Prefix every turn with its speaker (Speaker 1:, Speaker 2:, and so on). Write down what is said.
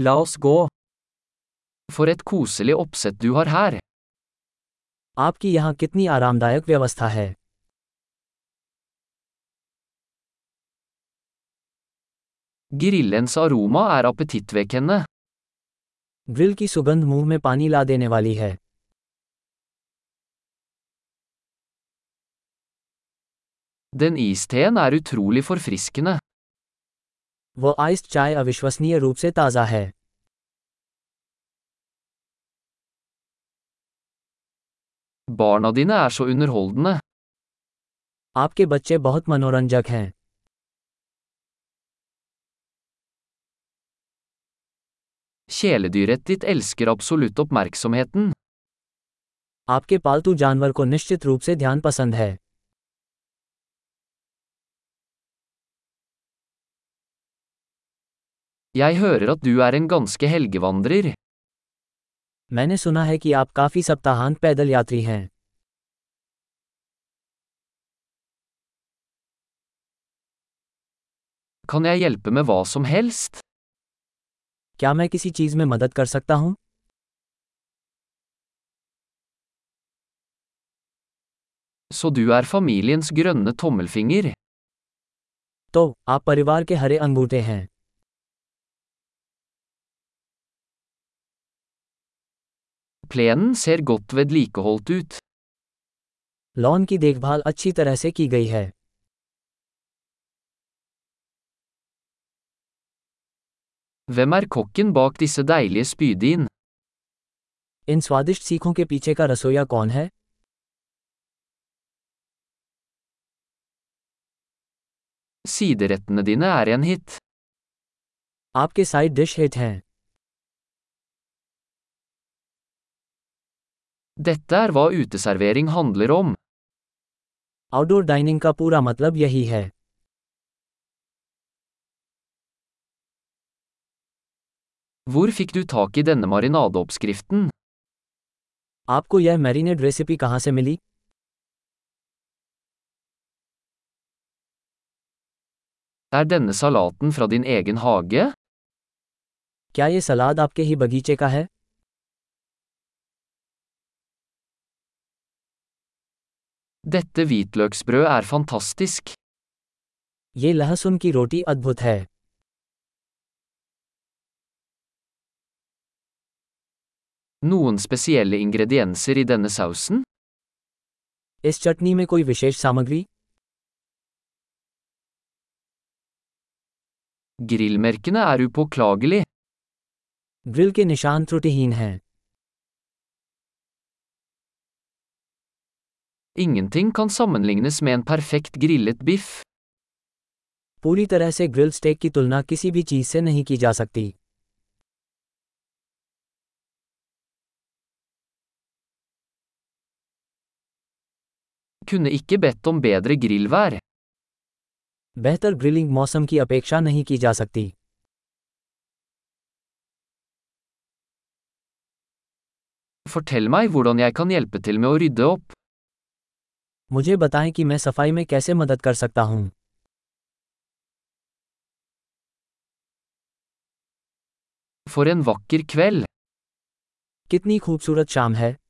Speaker 1: La oss gå. For et koselig oppsett du har her.
Speaker 2: आपकी यहाँ कितनी आरामदायक व्यवस्था है
Speaker 1: Grillens aroma er appetittvekkende.
Speaker 2: Grill की सुगंध मुंह में पानी ला देने वाली है
Speaker 1: Den isteen er utrolig forfriskende.
Speaker 2: वो आइस्ड चाय अविश्वसनीय रूप से ताज़ा है
Speaker 1: Barna dine er så underholdende.
Speaker 2: आपके बच्चे बहुत मनोरंजक हैं
Speaker 1: Kjæledyret ditt elsker absolutt oppmerksomheten.
Speaker 2: आपके पालतू जानवर को निश्चित रूप से ध्यान पसंद है
Speaker 1: Jeg hører at du er en ganske helgevandrer.
Speaker 2: मैंने सुना है कि आप काफ़ी सप्ताहांत पैदल यात्री हैं
Speaker 1: Kan jeg hjelpe med hva som helst?
Speaker 2: क्या मैं किसी चीज़ में मदद कर सकता हूँ
Speaker 1: Så du er familiens grønne tommelfinger.
Speaker 2: तो आप परिवार के हरे अंगूठे हैं
Speaker 1: Plenen ser godt vedlikeholdt ut.
Speaker 2: Lawn की देखभाल अच्छी तरह से की गई है
Speaker 1: Hvem er kokken bak disse deilige spydin?
Speaker 2: इन स्वादिष्ट सीखों के पीछे का रसोईया कौन है
Speaker 1: Siderettene dine er en hit.
Speaker 2: आपके साइड डिश हिट हैं
Speaker 1: Dette er hva uteservering handler om.
Speaker 2: Outdoor dining का पूरा मतलब यही है
Speaker 1: Hvor fikk du tak i denne marinadeoppskriften?
Speaker 2: आपको यह मैरिनेड रेसिपी कहाँ से मिली
Speaker 1: Er denne salaten fra din egen hage?
Speaker 2: क्या ये सलाद आपके ही बगीचे का है
Speaker 1: Dette hvitløksbrød er fantastisk.
Speaker 2: ये लहसुन की रोटी अद्भुत है
Speaker 1: Noen spesielle ingredienser i denne sausen?
Speaker 2: इस चटनी में कोई विशेष सामग्री
Speaker 1: Grillmerkene er upåklagelig.
Speaker 2: ग्रिल के निशान त्रुटिहीन हैं
Speaker 1: Ingenting kan sammenlignes med en perfekt grillet biff.
Speaker 2: पूरी तरह से ग्रिल स्टेक की तुलना किसी भी चीज़ से नहीं की जा सकती
Speaker 1: Kunne ikke bedt om bedre grillvær.
Speaker 2: बेहतर ग्रिलिंग मौसम की अपेक्षा नहीं की जा सकती
Speaker 1: Fortell meg hvordan jeg kan hjelpe til med å rydde opp.
Speaker 2: मुझे बताएं कि मैं सफाई में कैसे मदद कर सकता हूँ
Speaker 1: For en vakker kveld.
Speaker 2: कितनी खूबसूरत शाम है